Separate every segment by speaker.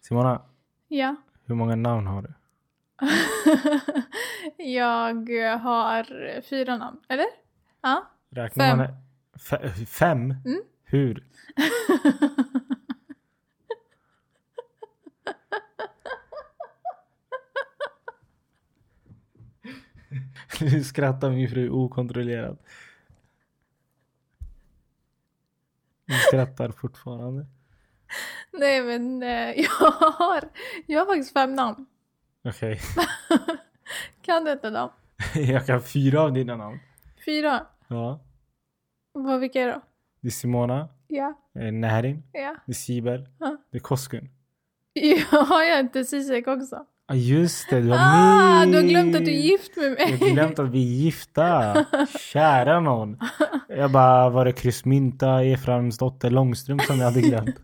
Speaker 1: Simona,
Speaker 2: Ja.
Speaker 1: hur många namn har du?
Speaker 2: jag har fyra namn, eller? Ja.
Speaker 1: Räknar
Speaker 2: Fem.
Speaker 1: man fe- fem?
Speaker 2: Mm.
Speaker 1: Hur? Nu skrattar min fru okontrollerat. Hon skrattar fortfarande.
Speaker 2: Nej men eh, jag har, jag har faktiskt fem namn.
Speaker 1: Okej,
Speaker 2: Kan du inte dem?
Speaker 1: jag kan fyra av dina namn.
Speaker 2: Fyra.
Speaker 1: Ja.
Speaker 2: Vad, vilka är det då?
Speaker 1: Det är Simona,
Speaker 2: Ja.
Speaker 1: eh, Narin,
Speaker 2: Ja.
Speaker 1: det är Sibel,
Speaker 2: Ja.
Speaker 1: det är Koskun.
Speaker 2: Jag har jag inte Zizek också?
Speaker 1: Ja just det, du har
Speaker 2: Ah,
Speaker 1: mig.
Speaker 2: du har glömt att du är gift med
Speaker 1: Jag
Speaker 2: mig.
Speaker 1: har glömt att vi är gifta. Kära någon. Jag bara, var det kryssmynta Efraims dotter Långström som jag hade glömt?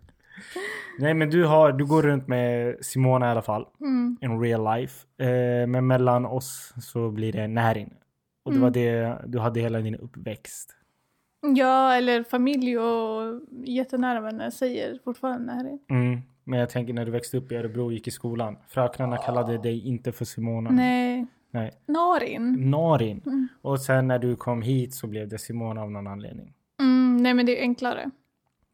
Speaker 1: Nej men du, har, du går runt med Simona i alla fall.
Speaker 2: Mm.
Speaker 1: In real life. Eh, men mellan oss så blir det Närin. Och det
Speaker 2: Mm.
Speaker 1: var det du hade hela din uppväxt.
Speaker 2: Ja, eller familj och jättenära vänner säger fortfarande här. är.
Speaker 1: Mm. Men jag tänker när du växte upp i Örebro och gick i skolan. Fröknarna kallade dig inte för Simona.
Speaker 2: Ah. Nej.
Speaker 1: Nej.
Speaker 2: Narin.
Speaker 1: Narin.
Speaker 2: Mm.
Speaker 1: Och sen när du kom hit så blev det Simona av någon anledning.
Speaker 2: Mm, nej men det är enklare.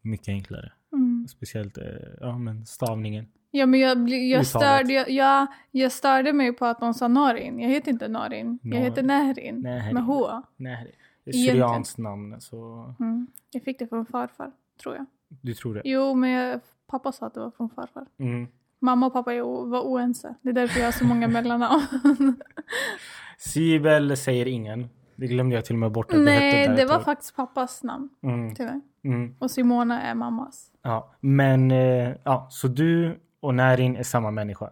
Speaker 1: Mycket enklare.
Speaker 2: Mm.
Speaker 1: Speciellt eh, ja, men stavningen.
Speaker 2: Ja men jag, blir- jag,
Speaker 1: Uttalet.
Speaker 2: störde, jag, jag, jag störde mig på att de sa Narin. Jag heter inte Narin. Jag
Speaker 1: Narin.
Speaker 2: heter Närin.
Speaker 1: Närin.
Speaker 2: Med H.
Speaker 1: Nej, det är
Speaker 2: Egentligen.
Speaker 1: syrianskt namn. Så
Speaker 2: Mm. Jag fick det från farfar, tror jag.
Speaker 1: du tror det?
Speaker 2: Jo, men jag, pappa sa att det var från farfar.
Speaker 1: Mm.
Speaker 2: Mamma och pappa är o- var oense. Det är därför jag har så många mellannamn.
Speaker 1: Sibel säger ingen. Det glömde jag till och med bort. att du hette
Speaker 2: Nej,
Speaker 1: där
Speaker 2: det
Speaker 1: ett
Speaker 2: var
Speaker 1: tag.
Speaker 2: faktiskt pappas namn.
Speaker 1: Mm,
Speaker 2: Tyvärr.
Speaker 1: mm,
Speaker 2: Och Simona är mammas.
Speaker 1: ja. Men eh, ja, så du och Närin är samma människa.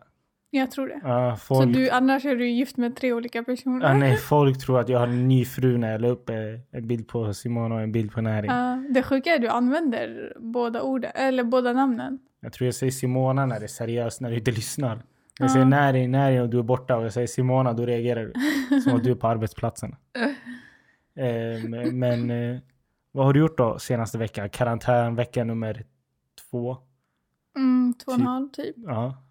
Speaker 2: Jag tror det.
Speaker 1: Ja,
Speaker 2: Så
Speaker 1: folk,
Speaker 2: du, annars är du gift med tre olika personer.
Speaker 1: ja, nej, folk tror att jag har en ny fru när jag la upp eh, en bild på Simona och en bild på Närin.
Speaker 2: Ja, det sjuka är att du använder båda orden, eller båda namnen.
Speaker 1: Jag tror jag säger Simona när det är seriöst, när du inte lyssnar. Jag
Speaker 2: Ja.
Speaker 1: säger Närin, Närin och du är borta och jag säger Simona, då reagerar du. Som att du är på arbetsplatsen. Ehm, men eh, vad har du gjort då senaste veckan? Karantän, vecka nummer två?
Speaker 2: Mm, två och en
Speaker 1: Typ.
Speaker 2: halv typ.
Speaker 1: Ja,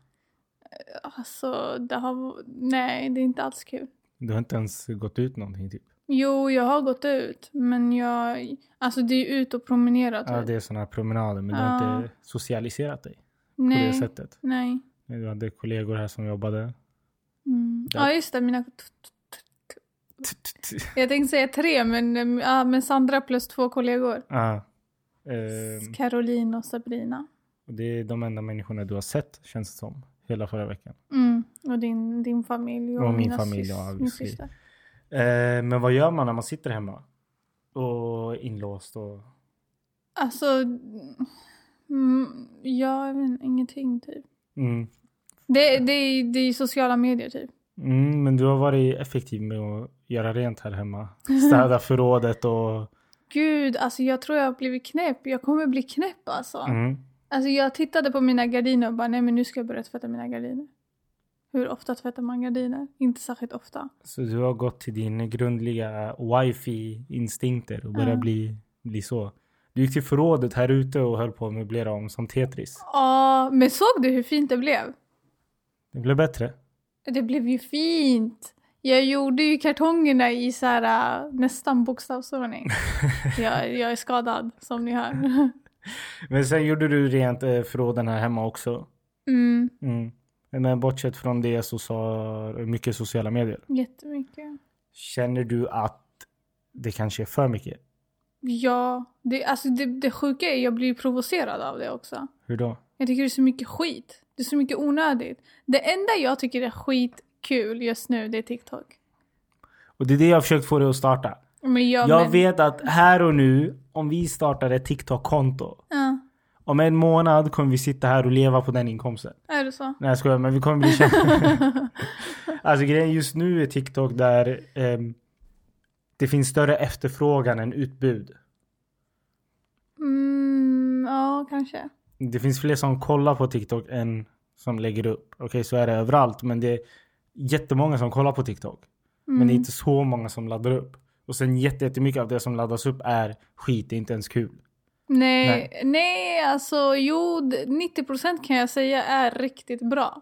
Speaker 2: Alltså, det har... Nej, det är inte alls kul.
Speaker 1: du har inte ens gått ut någonting typ.
Speaker 2: Jo, jag har gått ut, men jag... Alltså, det är ju ut och promenera typ.
Speaker 1: Ja, det är sådana här promenader, men du har
Speaker 2: Ja.
Speaker 1: inte socialiserat dig på det
Speaker 2: nej,
Speaker 1: sättet.
Speaker 2: nej.
Speaker 1: Du hade kollegor här som jobbade.
Speaker 2: Mm.
Speaker 1: Där.
Speaker 2: Ja, just det. Mina... Jag tänkte säga tre, men, eh, ja, men Sandra plus två kollegor.
Speaker 1: Ja. Ehm,
Speaker 2: Caroline och Sabrina.
Speaker 1: och det är de enda människorna du har sett känns det som. Hela förra veckan.
Speaker 2: Mm. Och din, din familj och,
Speaker 1: Och min
Speaker 2: mina
Speaker 1: familj,
Speaker 2: sys-
Speaker 1: ja,
Speaker 2: min
Speaker 1: obviously.
Speaker 2: syster.
Speaker 1: Eh, men vad gör man när man sitter hemma? Och inlåst och...
Speaker 2: Alltså, mm, jag vet inte, ingenting typ.
Speaker 1: Mm.
Speaker 2: Det, det, är, det är sociala medier typ.
Speaker 1: Mm, men du har varit effektiv med att göra rent här hemma. Städa förrådet och...
Speaker 2: Gud, alltså jag tror jag har blivit knäpp. Jag kommer bli knäpp alltså.
Speaker 1: Mm.
Speaker 2: Alltså jag tittade på mina gardiner och bara nej men nu ska jag börja tvätta mina gardiner. Hur ofta tvättar man gardiner? Inte särskilt ofta.
Speaker 1: Så du har gått till din grundliga wifi-instinkter och börjat
Speaker 2: Ja.
Speaker 1: bli, bli så. Du gick till förrådet här ute och höll på att möblera om som Tetris.
Speaker 2: Ja, men såg du hur fint det blev?
Speaker 1: Det blev bättre.
Speaker 2: Det blev ju fint! Jag gjorde ju kartongerna i så här, äh, nästan bokstavsordning. jag, jag är skadad som ni hör.
Speaker 1: Men sen gjorde du rent eh, förråden här hemma också.
Speaker 2: Mm,
Speaker 1: Mm. Men bortsett från det så sa mycket sociala medier.
Speaker 2: jättemycket.
Speaker 1: Känner du att det kanske är för mycket?
Speaker 2: Ja, det, alltså det, det sjuka är jag blir provocerad av det också.
Speaker 1: Hur då?
Speaker 2: Jag tycker det är så mycket skit. Det är så mycket onödigt. Det enda jag tycker är skitkul just nu det är TikTok.
Speaker 1: Och det är det jag har försökt få dig att starta.
Speaker 2: Men jag,
Speaker 1: jag
Speaker 2: men,
Speaker 1: vet att här och nu, om vi startar ett TikTok-konto.
Speaker 2: Ja,
Speaker 1: Om en månad kommer vi sitta här och leva på den inkomsten.
Speaker 2: är det så?
Speaker 1: Nej jag skojar, men vi kommer bli kända. alltså grejen just nu är TikTok där ehm, det finns större efterfrågan än utbud.
Speaker 2: Mm, ja, kanske.
Speaker 1: Det finns fler som kollar på TikTok än som lägger upp. Okej, så är det överallt, men det är jättemånga som kollar på TikTok.
Speaker 2: Mm.
Speaker 1: Men det är inte så många som laddar upp. Och sen jätte- jättemycket av det som laddas upp är skit, det är inte ens kul.
Speaker 2: Nej, nej. alltså jo, d- 90% kan jag säga är riktigt bra.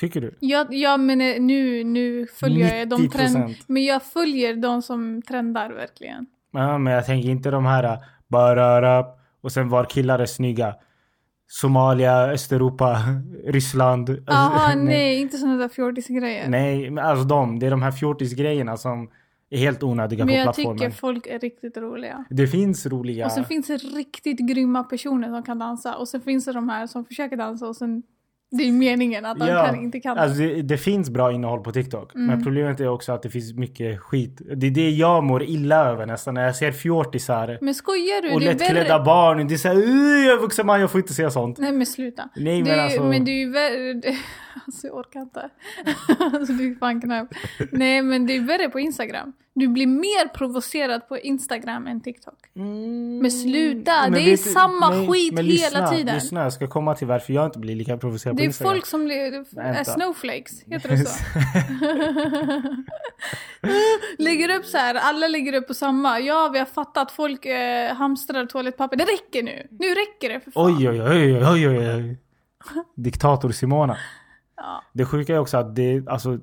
Speaker 1: Tycker du?
Speaker 2: Jag, jag menar nu, nu följer jag de
Speaker 1: 90%.
Speaker 2: trend, men jag följer de som trendar verkligen.
Speaker 1: Ja, men jag tänker inte de här äh, bararap och sen var killar är snygga. Somalia, Östeuropa, Ryssland. Alltså,
Speaker 2: Aha, Ah, nej. inte såna där fjortisgrejer.
Speaker 1: Nej, men alltså de. Det är de här fjortisgrejerna som är helt onödiga
Speaker 2: Men
Speaker 1: på
Speaker 2: jag
Speaker 1: plattformen.
Speaker 2: tycker folk är riktigt roliga.
Speaker 1: Det finns roliga...
Speaker 2: Och sen finns det riktigt grymma personer som kan dansa. Och sen finns det de här som försöker dansa och sen... Det är meningen att de kan, inte kan. Mm.
Speaker 1: alltså det, det finns bra innehåll på TikTok. Men problemet är också att det finns mycket skit. Det är det jag mår illa över nästan. När jag ser fjortisar
Speaker 2: men skojar du?
Speaker 1: och
Speaker 2: det är
Speaker 1: lättklädda
Speaker 2: värre...
Speaker 1: barn. Det är såhär, "Uh, jag är vuxen man, jag får inte se sånt.
Speaker 2: Nej men sluta.
Speaker 1: Nej,
Speaker 2: det
Speaker 1: men
Speaker 2: är,
Speaker 1: alltså-
Speaker 2: men det är ju värre... Alltså jag orkar inte. alltså du är fan knäpp. Nej men det är värre på Instagram. Du blir mer provocerad på Instagram än TikTok. Men sluta, det är
Speaker 1: Mm. vet du-
Speaker 2: samma
Speaker 1: nej,
Speaker 2: skit
Speaker 1: men
Speaker 2: hela
Speaker 1: lyssna,
Speaker 2: tiden.
Speaker 1: Lyssna, jag ska komma till varför jag inte blir lika provocerad
Speaker 2: Det
Speaker 1: på
Speaker 2: är
Speaker 1: Instagram.
Speaker 2: folk som blir, är
Speaker 1: Vänta.
Speaker 2: snowflakes, heter det så? lägger upp så här, alla lägger upp på samma. Ja, vi har fattat, folk eh, hamstrar toalettpapper. Det räcker nu! Nu räcker det för fan.
Speaker 1: Oj, oj, oj, oj, oj, oj. Diktator Simona.
Speaker 2: Ja,
Speaker 1: Det sjuka är också att det, alltså,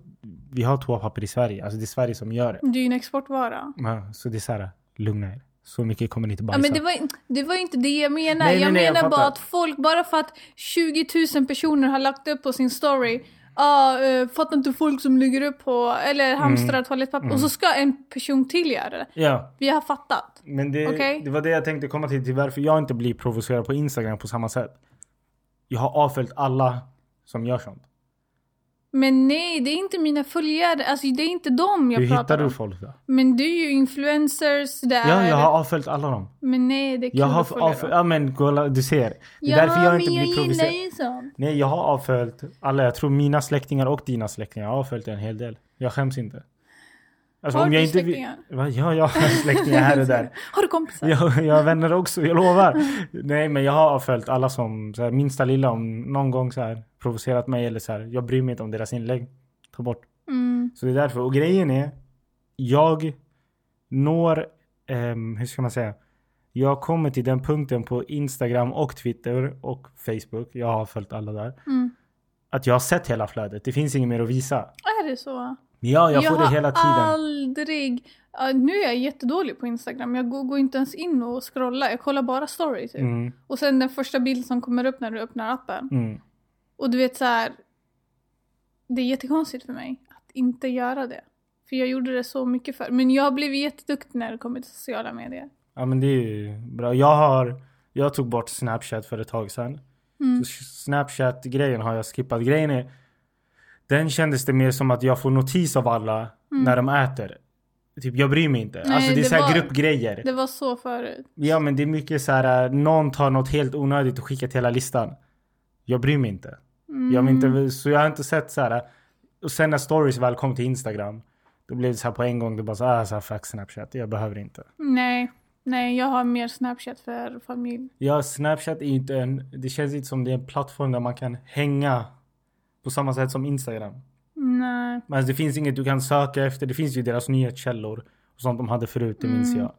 Speaker 1: vi har toapapper i Sverige. Alltså det är Sverige som gör det.
Speaker 2: det är ju en exportvara.
Speaker 1: Ja, Så det är så här, lugna er. Så mycket kommer ni inte
Speaker 2: Ja,
Speaker 1: bajsa.
Speaker 2: men det, var, det var ju inte det jag
Speaker 1: Nej,
Speaker 2: menar.
Speaker 1: nej,
Speaker 2: jag
Speaker 1: nej, jag
Speaker 2: menar bara
Speaker 1: fattar.
Speaker 2: att folk, bara för att 20 000 personer har lagt upp på sin story Ja, eh, fattar inte folk som lägger upp på, eller hamstrar
Speaker 1: Mm.
Speaker 2: toalettpapper. Och så ska en person till göra det.
Speaker 1: Ja,
Speaker 2: Vi har fattat.
Speaker 1: men det,
Speaker 2: Okej.
Speaker 1: det var det jag tänkte komma till, till varför jag inte blir provocerad på Instagram på samma sätt. Jag har avföljt alla som gör sånt.
Speaker 2: Men nej, det är inte mina följare. Alltså det är inte dem jag
Speaker 1: Hur
Speaker 2: pratar
Speaker 1: hittar du
Speaker 2: om.
Speaker 1: folk då?
Speaker 2: Men du är ju influencers, det
Speaker 1: Ja,
Speaker 2: är...
Speaker 1: jag har avföljt alla dem.
Speaker 2: Men nej, det är kul
Speaker 1: Jag
Speaker 2: att
Speaker 1: har
Speaker 2: följa
Speaker 1: avföljt,
Speaker 2: dem.
Speaker 1: ja men kolla, du ser. Det är
Speaker 2: Ja,
Speaker 1: därför jag
Speaker 2: men
Speaker 1: inte
Speaker 2: jag
Speaker 1: blir
Speaker 2: gillar
Speaker 1: provocerad.
Speaker 2: ju sånt.
Speaker 1: Nej, jag har avföljt alla. Jag tror mina släktingar och dina släktingar. Jag har avföljt en hel del. Jag skäms inte. Alltså,
Speaker 2: Har
Speaker 1: om jag
Speaker 2: du
Speaker 1: inte vill-
Speaker 2: släktingar?
Speaker 1: Va? Ja, jag har släktingar här och där.
Speaker 2: Har du kompisar?
Speaker 1: Jag, jag har vänner också, jag lovar. Nej, men jag har avföljt alla som så här, minsta lilla om någon gång så här, provocerat mig eller så här. Jag bryr mig inte om deras inlägg. Ta bort.
Speaker 2: Mm.
Speaker 1: Så det är därför. Och grejen är, jag når, ehm, hur ska man säga? Jag kommer till den punkten på Instagram och Twitter och Facebook. Jag har följt alla där.
Speaker 2: Mm.
Speaker 1: Att jag har sett hela flödet. Det finns inget mer att visa.
Speaker 2: Är det så?
Speaker 1: Men ja, jag, får det
Speaker 2: har
Speaker 1: hela tiden.
Speaker 2: aldrig... Ja, nu är jag jättedålig på Instagram. Jag går, går inte ens in och scrollar. Jag kollar bara stories. Typ.
Speaker 1: Mm,
Speaker 2: Och sen den första bilden som kommer upp när du öppnar appen.
Speaker 1: mm.
Speaker 2: Och du vet så här. Det är jättekonstigt för mig att inte göra det. För jag gjorde det så mycket förr. Men jag blev jätteduktig när det kommer till sociala medier.
Speaker 1: Ja, men det är ju bra. Jag har, jag tog bort Snapchat för ett tag sedan.
Speaker 2: Mm.
Speaker 1: Så Snapchat-grejen har jag skippat. Grejen är, den kändes det mer som att jag får notis av alla när de äter. Typ jag bryr mig inte.
Speaker 2: Mm. Nej,
Speaker 1: alltså det är
Speaker 2: det
Speaker 1: så här
Speaker 2: var-
Speaker 1: gruppgrejer.
Speaker 2: Det var så förut.
Speaker 1: Ja men det är mycket så här, äh, någon tar något helt onödigt och skickar till hela listan. Jag bryr mig inte.
Speaker 2: Mm.
Speaker 1: Jag vill inte så jag har inte sett så här. äh, Och sen när stories väl kom till Instagram. Då blev det så här på en gång, det bara så här, ah, så här fuck Snapchat, jag behöver inte.
Speaker 2: Nej. Nej, jag har mer Snapchat för familj.
Speaker 1: Ja, Snapchat är ju inte en, det känns inte som det är en plattform där man kan hänga på samma sätt som Instagram.
Speaker 2: Nej.
Speaker 1: Men det finns inget du kan söka efter. Det finns ju deras nyhetskällor och sånt de hade förut, det minns
Speaker 2: Mm.
Speaker 1: jag.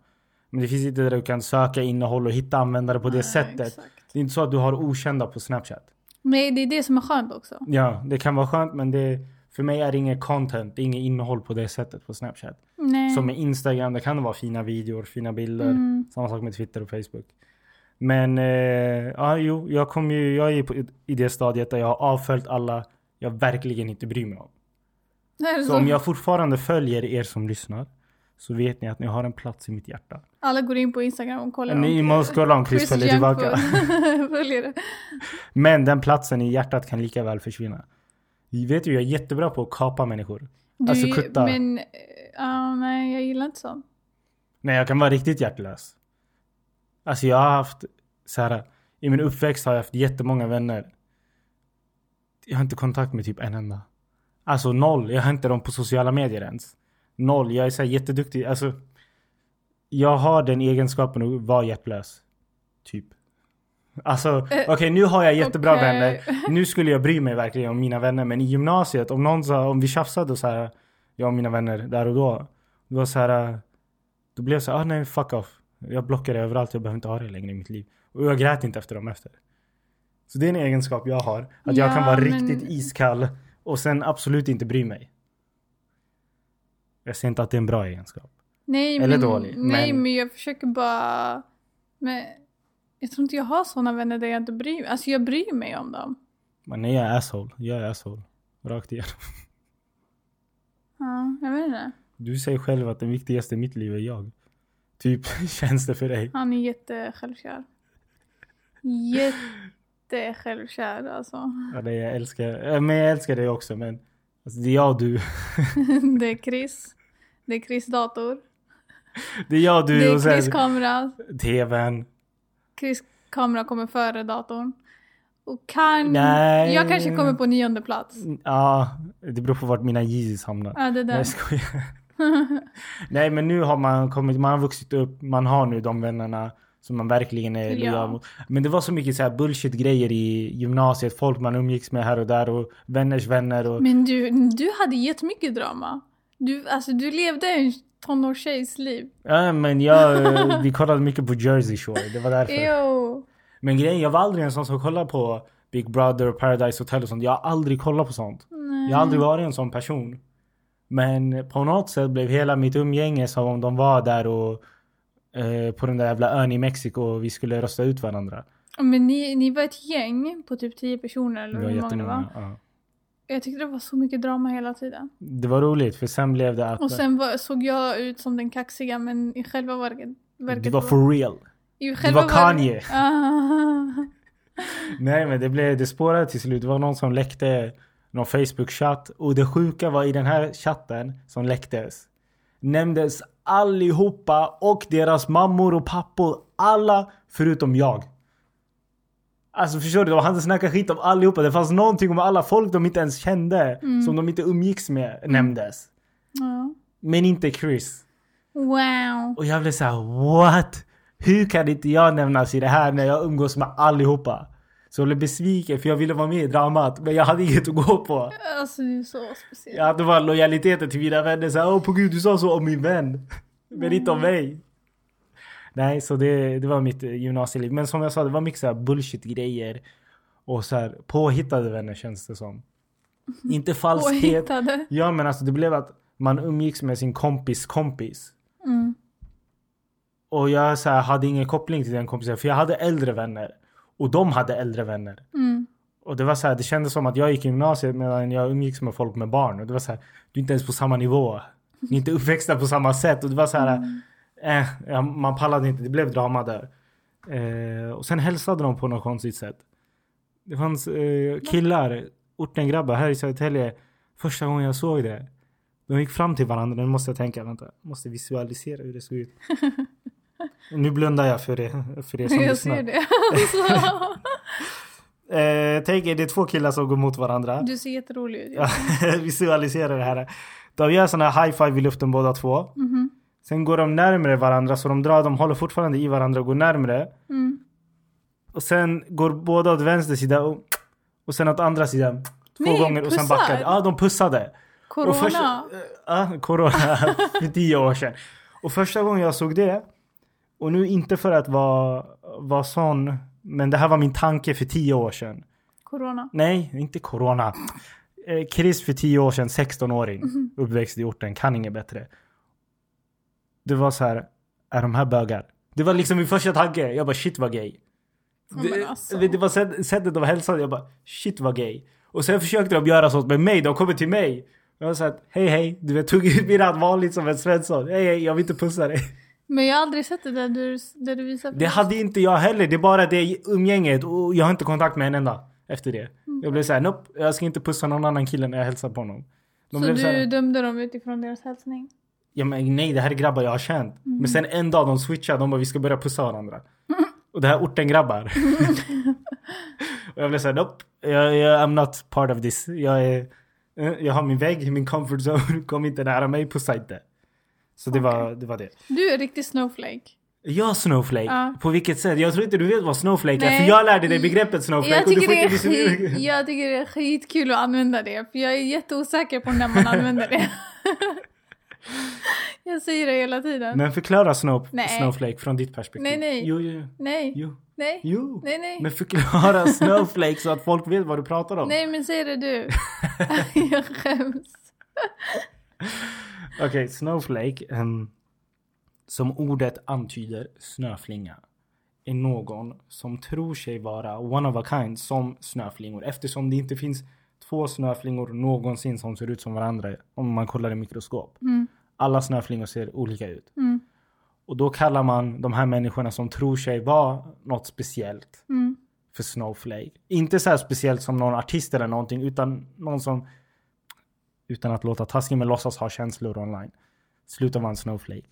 Speaker 1: Men det finns inte där du kan söka innehåll och hitta användare på det sättet.
Speaker 2: exakt.
Speaker 1: Det är inte så att du har okända på Snapchat.
Speaker 2: Men det är det som är skönt också.
Speaker 1: Ja, det kan vara skönt men det, för mig är det inget content, det är inget innehåll på det sättet på Snapchat.
Speaker 2: Nej. Mm.
Speaker 1: Som med Instagram, där kan det vara fina videor, fina bilder. Samma sak med Twitter och Facebook. Men eh, ja, jo, jag, kom ju, jag är ju på, i det stadiet där jag har avföljt alla jag verkligen inte bryr mig om.
Speaker 2: Är det
Speaker 1: Så om
Speaker 2: så?
Speaker 1: jag fortfarande följer er som lyssnar så vet ni att ni har en plats i mitt hjärta.
Speaker 2: Alla går in på Instagram och kollar
Speaker 1: Ni
Speaker 2: om
Speaker 1: måste kolla om Chris
Speaker 2: Chris
Speaker 1: följer tillbaka.
Speaker 2: Junkfood följer det.
Speaker 1: Men den platsen i hjärtat kan lika väl försvinna. Ni vet ju, jag är jättebra på att kapa människor.
Speaker 2: Du,
Speaker 1: Alltså kutta.
Speaker 2: Men, eh, ja, nej, jag gillar inte sånt.
Speaker 1: Nej, jag kan vara riktigt hjärtlös. Alltså jag har haft så här. I min uppväxt har jag haft jättemånga vänner. Jag har inte kontakt med typ en enda. Alltså noll. Jag har inte dem på sociala medier ens. Noll. Jag är så här jätteduktig. Alltså. Jag har den egenskapen att vara hjärtlös. Typ. Alltså okej nu har jag jättebra
Speaker 2: okej.
Speaker 1: vänner. Nu skulle jag bry mig verkligen om mina vänner. Men i gymnasiet om någon sa, om vi tjafsade så här. Jag och mina vänner där och då. Det var så här. Då blev jag så här, ah, nej fuck off. Jag blockar dig överallt, jag behöver inte ha dig längre i mitt liv. Och jag grät inte efter dem efter. Så det är en egenskap jag har. Att jag
Speaker 2: Ja,
Speaker 1: kan vara
Speaker 2: men-
Speaker 1: riktigt iskall och sen absolut inte bry mig. Jag ser inte att det är en bra egenskap.
Speaker 2: Nej,
Speaker 1: Eller
Speaker 2: men,
Speaker 1: dålig,
Speaker 2: Nej,
Speaker 1: men-
Speaker 2: men... jag försöker bara... Men jag tror inte jag har såna vänner där jag inte bryr mig. Alltså jag bryr mig om dem.
Speaker 1: Men nej, jag är asshole. Jag är asshole. Rakt igenom.
Speaker 2: Ja, jag vet inte.
Speaker 1: Du säger själv att den viktigaste i mitt liv är jag. Typ, känns det för dig?
Speaker 2: Han är jättesjälvkär. Jättesjälvkär alltså.
Speaker 1: Ja, det jag älskar. eh, Men jag älskar dig också, men alltså, det är jag och du.
Speaker 2: Det är Chris. Det är Chris dator.
Speaker 1: Det är jag och du
Speaker 2: Det
Speaker 1: och
Speaker 2: är Chris
Speaker 1: sen
Speaker 2: kamera.
Speaker 1: tvn.
Speaker 2: Chris kamera kommer före datorn. Och kan...
Speaker 1: Nej.
Speaker 2: Jag kanske kommer på nionde plats.
Speaker 1: Ja, det beror på vart mina Yeezys hamnar.
Speaker 2: Ja, det
Speaker 1: Nej,
Speaker 2: är där.
Speaker 1: jag skojar. Nej, men nu har man kommit, man har vuxit upp, man har nu de vännerna som man verkligen är
Speaker 2: Ja.
Speaker 1: lojal mot. Men det var så mycket så här bullshit grejer i gymnasiet, folk man umgicks med här och där och vänners vänner och
Speaker 2: Men du, du hade jättemycket drama. Du, alltså, du levde en tonårstjejs liv.
Speaker 1: Ja, men jag, eh, vi kollade mycket på Jersey Shore, det var därför.
Speaker 2: Ew.
Speaker 1: Men grejen, jag var aldrig en sån som kollade på Big Brother och Paradise Hotel och sånt. Jag har aldrig kollat på sånt. Jag har aldrig
Speaker 2: Mm.
Speaker 1: varit en sån person. Men på något sätt blev hela mitt umgänge som om de var där och eh, på den där jävla ön i Mexiko och vi skulle rösta ut varandra.
Speaker 2: Men ni, ni var ett gäng på typ tio personer eller
Speaker 1: Det var
Speaker 2: hur många det var.
Speaker 1: jättemånga. Ja.
Speaker 2: Jag tyckte det var så mycket drama hela tiden.
Speaker 1: Det var roligt för sen blev det att
Speaker 2: Och sen var, såg jag ut som den kaxiga men i själva verket... verket
Speaker 1: det var for real.
Speaker 2: i
Speaker 1: Det var Kanye.
Speaker 2: Ah.
Speaker 1: Nej men det blev, det spårade till slut. Det var någon som läckte någon Facebook-chatt. Och det sjuka var i den här chatten som läcktes. Nämndes allihopa och deras mammor och pappor. Alla förutom jag. Alltså förstår du? De hade snackat skit om allihopa. Det fanns någonting om alla folk de inte ens kände. Som de inte umgicks med nämndes.
Speaker 2: Ja.
Speaker 1: Men inte Chris.
Speaker 2: Wow.
Speaker 1: Och jag blev så här: what? Hur kan inte jag nämnas i det här när jag umgås med allihopa? Så jag blev besviken för jag ville vara med i dramat men jag hade inget att gå på.
Speaker 2: Alltså du är så speciell.
Speaker 1: Jag hade bara lojaliteten till mina vänner såhär, åh på gud du sa så om min vän. Men inte om mig. Nej, så det, det var mitt eh, gymnasieliv. Men som jag sa, det var mycket så här bullshit grejer. Och så här påhittade vänner känns det som. Inte falskhet.
Speaker 2: Påhittade.
Speaker 1: Ja men alltså det blev att man umgicks med sin kompis kompis.
Speaker 2: Mm.
Speaker 1: Och jag så här, hade ingen koppling till den kompisen för jag hade äldre vänner. Och de hade äldre vänner.
Speaker 2: Mm.
Speaker 1: Och det var så här, det kändes som att jag gick i gymnasiet medan jag umgicks med folk med barn. Och det var så här, du är inte ens på samma nivå. Ni är inte uppväxta på samma sätt. Och det var så här,
Speaker 2: Mm.
Speaker 1: eh, ja, man pallade inte. Det blev drama där. Eh, och sen hälsade de på något konstigt sätt. Det fanns eh, killar, ortengrabbar här i Södertälje. Första gången jag såg det. De gick fram till varandra. Nu måste jag tänka, vänta. Måste visualisera hur det såg ut. nu blundar jag för det, för det som
Speaker 2: Jag
Speaker 1: lyssnar.
Speaker 2: ser det.
Speaker 1: Eh, tänk er, det är två killar som går mot varandra.
Speaker 2: du ser jätterolig ut.
Speaker 1: Ja, visualisera det här. De gör såna här high five i luften båda två.
Speaker 2: Mhm.
Speaker 1: Sen går de närmare varandra så de drar, de håller fortfarande i varandra och går närmare.
Speaker 2: Mm.
Speaker 1: Och sen går båda åt vänster sida och, och sen åt andra sidan. Två
Speaker 2: Nej,
Speaker 1: gånger och sen
Speaker 2: pussar.
Speaker 1: backade. Ja, de pussade.
Speaker 2: Corona.
Speaker 1: Och första- ja, corona för tio år sedan. Och första gången jag såg det, och nu inte för att vara, vara sån, men det här var min tanke för tio år sedan.
Speaker 2: Corona.
Speaker 1: Nej, inte corona. Eh, Chris för 10 år sedan, 16-åring,
Speaker 2: Mhm.
Speaker 1: uppväxt i orten, kan inget bättre. Det var så här, är de här bögar? Det var liksom min första tanke. Jag bara shit vad gay.
Speaker 2: Ja, men
Speaker 1: Det,
Speaker 2: alltså.
Speaker 1: det var sätt- sättet de hälsade, jag bara shit vad gay. Och sen försökte de göra sånt med mig, de kommer till mig. Jag var såhär, hej hej, du vet, tog ut min hand vanligt som en svensson. Hej hej, jag vill inte pussa dig.
Speaker 2: Men jag har aldrig sett det där du, där du visar.
Speaker 1: Det hade inte jag heller. Det är bara det umgänget och jag har inte kontakt med en enda efter det.
Speaker 2: Mm.
Speaker 1: Jag blev såhär, nope, jag ska inte pussa någon annan kille när jag hälsar på honom. De
Speaker 2: så
Speaker 1: blev
Speaker 2: du
Speaker 1: så här,
Speaker 2: dömde dem utifrån deras hälsning?
Speaker 1: ja, men nej det här är grabbar jag har känt.
Speaker 2: Mm.
Speaker 1: Men sen en dag de switchade, de bara vi ska börja pussa varandra. Och det här orten grabbar. och jag blev såhär, nope, jag, jag, I'm not part of this. Jag, är, eh, jag har min vägg, min comfort zone, kom inte nära mig, pussa inte. Så det, var, det var det.
Speaker 2: Du är riktig snowflake.
Speaker 1: Ja, Snowflake.
Speaker 2: Ja.
Speaker 1: På vilket sätt? Jag tror inte du vet vad Snowflake är.
Speaker 2: Nej. Mm.
Speaker 1: För jag lärde dig begreppet Snowflake.
Speaker 2: Jag
Speaker 1: och du
Speaker 2: tycker, det är
Speaker 1: får inte liksom-
Speaker 2: skit,
Speaker 1: dis-
Speaker 2: jag tycker det är skitkul att använda det. För jag är jätteosäker på när man använder det. jag säger det hela tiden.
Speaker 1: Men förklara snow,
Speaker 2: Nej.
Speaker 1: Snowflake från ditt perspektiv.
Speaker 2: Nej, nej.
Speaker 1: Jo, jo, jo.
Speaker 2: Nej.
Speaker 1: jo.
Speaker 2: Nej,
Speaker 1: Jo.
Speaker 2: nej, nej.
Speaker 1: Men förklara Snowflake så att folk vet vad du pratar om.
Speaker 2: Nej, men säg det du. jag skäms.
Speaker 1: Okej, Snowflake. ehm, som ordet antyder, snöflinga. Är någon som tror sig vara one of a kind som snöflingor. Eftersom det inte finns två snöflingor någonsin som ser ut som varandra. Om man kollar i mikroskop.
Speaker 2: Mm.
Speaker 1: Alla snöflingor ser olika ut.
Speaker 2: Mm.
Speaker 1: Och då kallar man de här människorna som tror sig vara något speciellt
Speaker 2: Mm.
Speaker 1: för Snowflake. Inte så här speciellt som någon artist eller någonting utan någon som utan att låta taskig men låtsas ha känslor online. Sluta vara en Snowflake.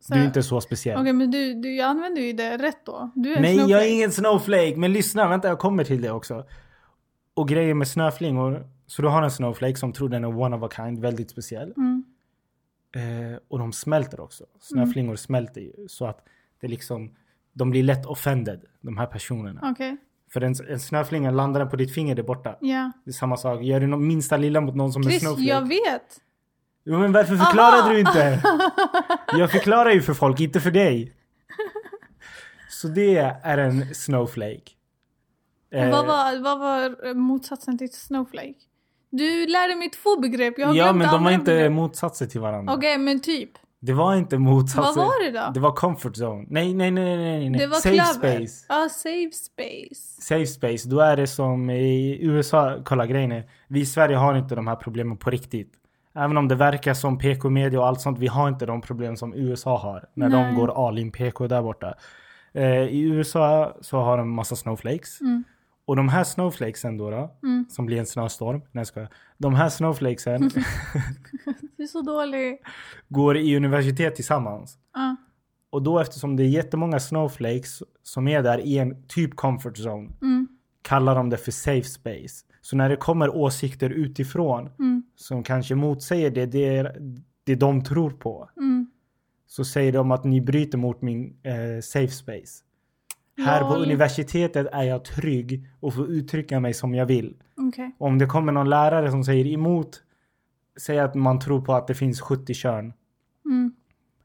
Speaker 2: Så-
Speaker 1: Du är inte så speciell.
Speaker 2: Okej, men du, du jag använder ju det rätt då. Du är en
Speaker 1: Nej, jag
Speaker 2: snowflake.
Speaker 1: är ingen Snowflake. Men lyssna, vänta jag kommer till det också. Och grejen med snöflingor. Så du har en Snowflake som tror den är one of a kind, väldigt speciell.
Speaker 2: Mm.
Speaker 1: Eh, och de smälter också. Snöflingor smälter ju. Så att det liksom, de blir lätt offended, de här personerna.
Speaker 2: Okej,
Speaker 1: För en, en snöflinga, landar den på ditt finger, det är borta.
Speaker 2: ja.
Speaker 1: Det är samma sak. Gör du nå- minsta lilla mot någon som är
Speaker 2: Chris,
Speaker 1: snowflake.
Speaker 2: jag vet.
Speaker 1: Jo, men varför förklarade
Speaker 2: Aha!
Speaker 1: du inte? Jag förklarar ju för folk, inte för dig. Så det är en snowflake. Eh,
Speaker 2: Vad, var, vad var eh, motsatsen till snowflake? Du lärde mig två begrepp. Jag har
Speaker 1: ja,
Speaker 2: glömt
Speaker 1: men de var
Speaker 2: andra
Speaker 1: inte
Speaker 2: begrepp.
Speaker 1: motsatser till varandra.
Speaker 2: Okej, men typ.
Speaker 1: Det var inte motsatser.
Speaker 2: Vad var det då?
Speaker 1: Alltså, Det var comfort zone. Nej, nej, nej, nej, nej. nej.
Speaker 2: Det var
Speaker 1: Safe
Speaker 2: klöver.
Speaker 1: space.
Speaker 2: Ja, safe space.
Speaker 1: safe space, då är det som i USA, kolla grejen är, vi i Sverige har inte de här problemen på riktigt. Även om det verkar som PK-media och allt sånt, vi har inte de problem som USA har. När
Speaker 2: Nej.
Speaker 1: de går all in PK där borta. Eh, I USA så har de massa snowflakes.
Speaker 2: Mm.
Speaker 1: Och de här snowflakesen då, då
Speaker 2: Mm.
Speaker 1: som blir en snöstorm, nej jag skojar. De här snowflakesen
Speaker 2: Du är så dålig.
Speaker 1: går i universitet tillsammans.
Speaker 2: Ja.
Speaker 1: Och då eftersom det är jättemånga snowflakes som är där i en typ comfort zone
Speaker 2: Mm.
Speaker 1: kallar de det för safe space. Så när det kommer åsikter utifrån
Speaker 2: Mm.
Speaker 1: som kanske motsäger det, det, är, det de tror på
Speaker 2: Mm.
Speaker 1: så säger de att ni bryter mot min eh, safe space. Här på
Speaker 2: Lol.
Speaker 1: universitetet är jag trygg och får uttrycka mig som jag vill.
Speaker 2: Okej.
Speaker 1: Om det kommer någon lärare som säger emot, säg att man tror på att det finns 70 kön.
Speaker 2: Mm.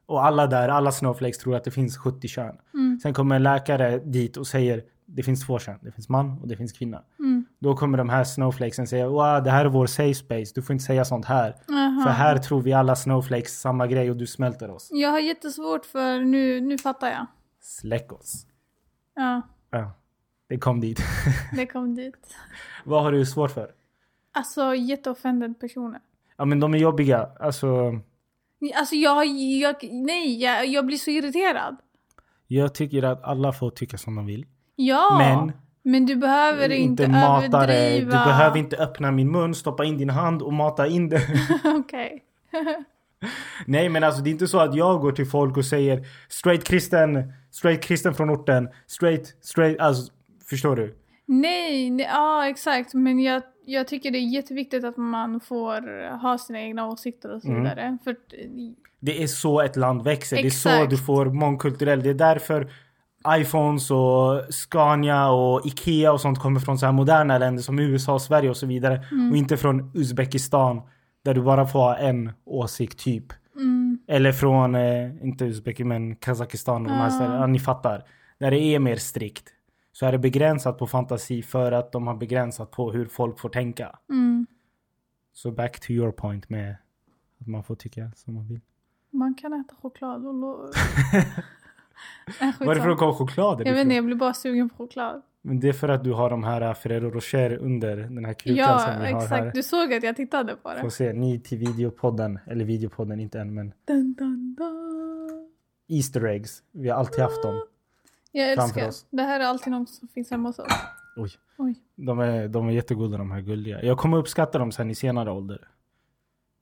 Speaker 1: Och alla där, alla snowflakes tror att det finns 70 kön.
Speaker 2: Mm.
Speaker 1: Sen kommer en läkare dit och säger det finns två kön, det finns man och det finns kvinna.
Speaker 2: Mm.
Speaker 1: Då kommer de här snowflakesen säga wow, det här är vår safe space, du får inte säga sånt här.
Speaker 2: Aha.
Speaker 1: För här tror vi alla snowflakes samma grej och du smälter oss.
Speaker 2: Jag har jättesvårt för nu, nu fattar jag.
Speaker 1: Släck oss.
Speaker 2: Ja,
Speaker 1: Ja, det kom dit.
Speaker 2: det kom dit.
Speaker 1: Vad har du svårt för?
Speaker 2: Alltså jätteoffended personer.
Speaker 1: Ja men de är jobbiga. Alltså,
Speaker 2: Alltså jag, jag nej, jag, jag blir så irriterad.
Speaker 1: jag tycker att alla får tycka som de vill.
Speaker 2: Ja,
Speaker 1: Men-
Speaker 2: men du behöver inte, överdriva.
Speaker 1: Du behöver inte öppna min mun, stoppa in din hand och mata in den.
Speaker 2: Okej.
Speaker 1: Nej men alltså det är inte så att jag går till folk och säger straight kristen, straight kristen från orten, straight, straight, alltså förstår du?
Speaker 2: Nej, nej, ja exakt. Men jag, jag tycker det är jätteviktigt att man får ha sina egna åsikter och så
Speaker 1: Mm.
Speaker 2: vidare. För,
Speaker 1: Det är så ett land växer. Det är så
Speaker 2: Exakt.
Speaker 1: du får mångkulturell. Det är därför iPhones och Scania och Ikea och sånt kommer från så här moderna länder som USA, Sverige och så vidare.
Speaker 2: Mm.
Speaker 1: Och inte från Uzbekistan där du bara får ha en åsikt typ.
Speaker 2: mm,
Speaker 1: Eller från, eh, inte Uzbekistan men Kazakistan och de här
Speaker 2: Ja.
Speaker 1: ställena. Ja, ni fattar. Där det är mer strikt. Så är det begränsat på fantasi för att de har begränsat på hur folk får tänka.
Speaker 2: mm,
Speaker 1: Så back to your point med att man får tycka som man vill.
Speaker 2: man kan äta choklad och... lo- Nej,
Speaker 1: Varför
Speaker 2: skitsamma.
Speaker 1: kom chokladen
Speaker 2: Jag vet
Speaker 1: ifrån?
Speaker 2: inte, jag blir bara sugen på choklad.
Speaker 1: Men det är för att du har de här Ferrero Rocher under den här krukan som
Speaker 2: Ja,
Speaker 1: vi har här.
Speaker 2: exakt. Du såg att jag tittade på det.
Speaker 1: Får se, ni till videopodden, eller videopodden inte än men
Speaker 2: Dun, dun, dun.
Speaker 1: Easter eggs. Vi har alltid haft
Speaker 2: Mm.
Speaker 1: dem.
Speaker 2: Jag
Speaker 1: Framför
Speaker 2: älskar.
Speaker 1: oss.
Speaker 2: Det här är alltid något som finns hemma hos oss.
Speaker 1: Oj.
Speaker 2: Oj.
Speaker 1: De är, de är jättegoda de här gulliga. Jag kommer uppskatta dem sen i senare ålder.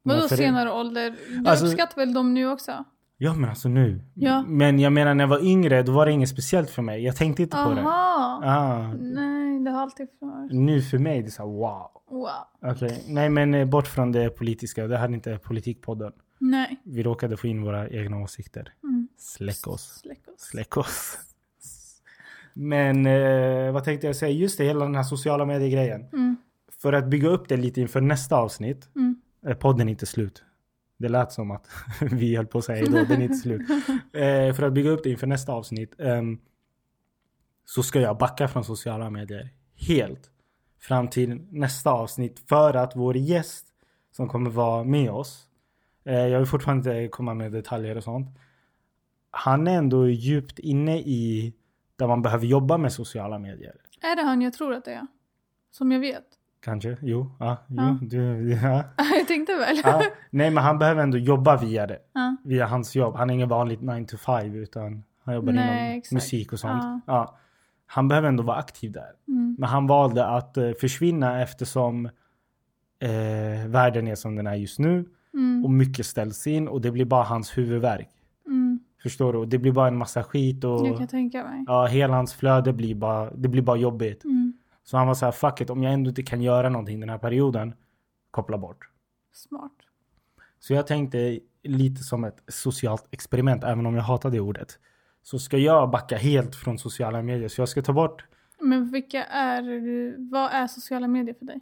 Speaker 1: De här
Speaker 2: Vadå
Speaker 1: Ferre-
Speaker 2: senare ålder? Du
Speaker 1: Alltså-
Speaker 2: uppskattar väl dem nu också?
Speaker 1: Ja men alltså nu.
Speaker 2: Ja.
Speaker 1: Men jag menar när jag var yngre då var det inget speciellt för mig. Jag tänkte inte på det.
Speaker 2: Aha.
Speaker 1: Ah,
Speaker 2: Nej, det har alltid funnits.
Speaker 1: nu för mig det är så här, wow.
Speaker 2: Wow.
Speaker 1: Okej, nej men eh, bort från det politiska. Det här är inte politikpodden.
Speaker 2: Nej.
Speaker 1: Vi råkade få in våra egna åsikter.
Speaker 2: Mm.
Speaker 1: Släck oss.
Speaker 2: Släck oss.
Speaker 1: Släck oss. Men eh, vad tänkte jag säga? Just det, hela den här sociala medier-grejen.
Speaker 2: Mm.
Speaker 1: För att bygga upp det lite inför nästa avsnitt.
Speaker 2: Mm.
Speaker 1: Eh, podden är inte slut. Det lät som att vi höll på att säga hejdå, den är inte slut. Eh, för att bygga upp det inför nästa avsnitt. ehm, så ska jag backa från sociala medier helt fram till nästa avsnitt för att vår gäst som kommer vara med oss. Eh, jag vill fortfarande inte komma med detaljer och sånt. Han är ändå djupt inne i där man behöver jobba med sociala medier.
Speaker 2: Är det han jag tror att det är? Som jag vet?
Speaker 1: Kanske, jo, ja, jo,
Speaker 2: Ja.
Speaker 1: du, ja.
Speaker 2: jag tänkte väl.
Speaker 1: ja. Nej men han behöver ändå jobba via det,
Speaker 2: Ja.
Speaker 1: via hans jobb. Han är ingen vanlig 9 to 5 utan han jobbar
Speaker 2: Nej,
Speaker 1: inom
Speaker 2: exakt.
Speaker 1: musik och sånt.
Speaker 2: Ja.
Speaker 1: Ja. Han behöver ändå vara aktiv där.
Speaker 2: Mm.
Speaker 1: Men han valde att eh, försvinna eftersom eh, världen är som den är just nu.
Speaker 2: Mm.
Speaker 1: Och mycket ställs in och det blir bara hans huvudvärk.
Speaker 2: Mm.
Speaker 1: Förstår du? Och det blir bara en massa skit och
Speaker 2: Jag kan tänka mig.
Speaker 1: ja, hela hans flöde blir bara, det blir bara jobbigt.
Speaker 2: Mm.
Speaker 1: Så han var så här, fuck it, om jag ändå inte kan göra någonting den här perioden, koppla bort.
Speaker 2: Smart.
Speaker 1: Så jag tänkte lite som ett socialt experiment, även om jag hatar det ordet. Så ska jag backa helt från sociala medier. Så jag ska ta bort,
Speaker 2: Men vilka är, vad är sociala medier för dig?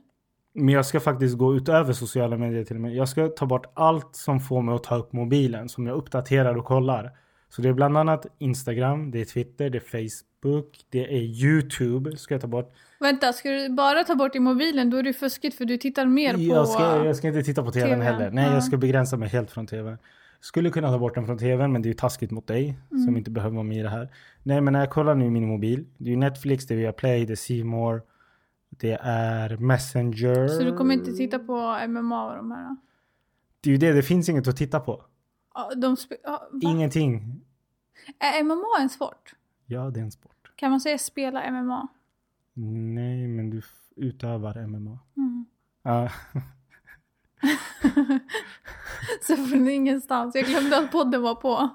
Speaker 1: men jag ska faktiskt gå utöver sociala medier till och med. Jag ska ta bort allt som får mig att ta upp mobilen, som jag uppdaterar och kollar. Så det är bland annat Instagram, det är Twitter, det är Facebook, det är YouTube ska jag ta bort.
Speaker 2: Vänta, ska du bara ta bort i mobilen då är det ju fuskigt för du tittar mer på...
Speaker 1: Jag ska, jag ska inte titta på tvn
Speaker 2: TV:n,
Speaker 1: heller. Nej,
Speaker 2: ja.
Speaker 1: jag ska begränsa mig helt från tvn. Skulle kunna ta bort den från tvn, men det är ju taskigt mot dig
Speaker 2: Mm.
Speaker 1: som inte behöver vara med i det här. Nej, men när jag kollar nu i min mobil. Det är ju Netflix, det är Viaplay, det är C More. Det är Messenger.
Speaker 2: Så du kommer inte titta på MMA och de här? då?
Speaker 1: Det är ju det, det finns inget att titta på.
Speaker 2: Ja, De spe- ja, va?
Speaker 1: Ingenting.
Speaker 2: Är MMA en sport?
Speaker 1: Ja, det är en sport.
Speaker 2: Kan man säga spela MMA?
Speaker 1: Nej, men du f- utövar MMA.
Speaker 2: Mm.
Speaker 1: Ja.
Speaker 2: Så från ingenstans. Jag glömde att podden var på.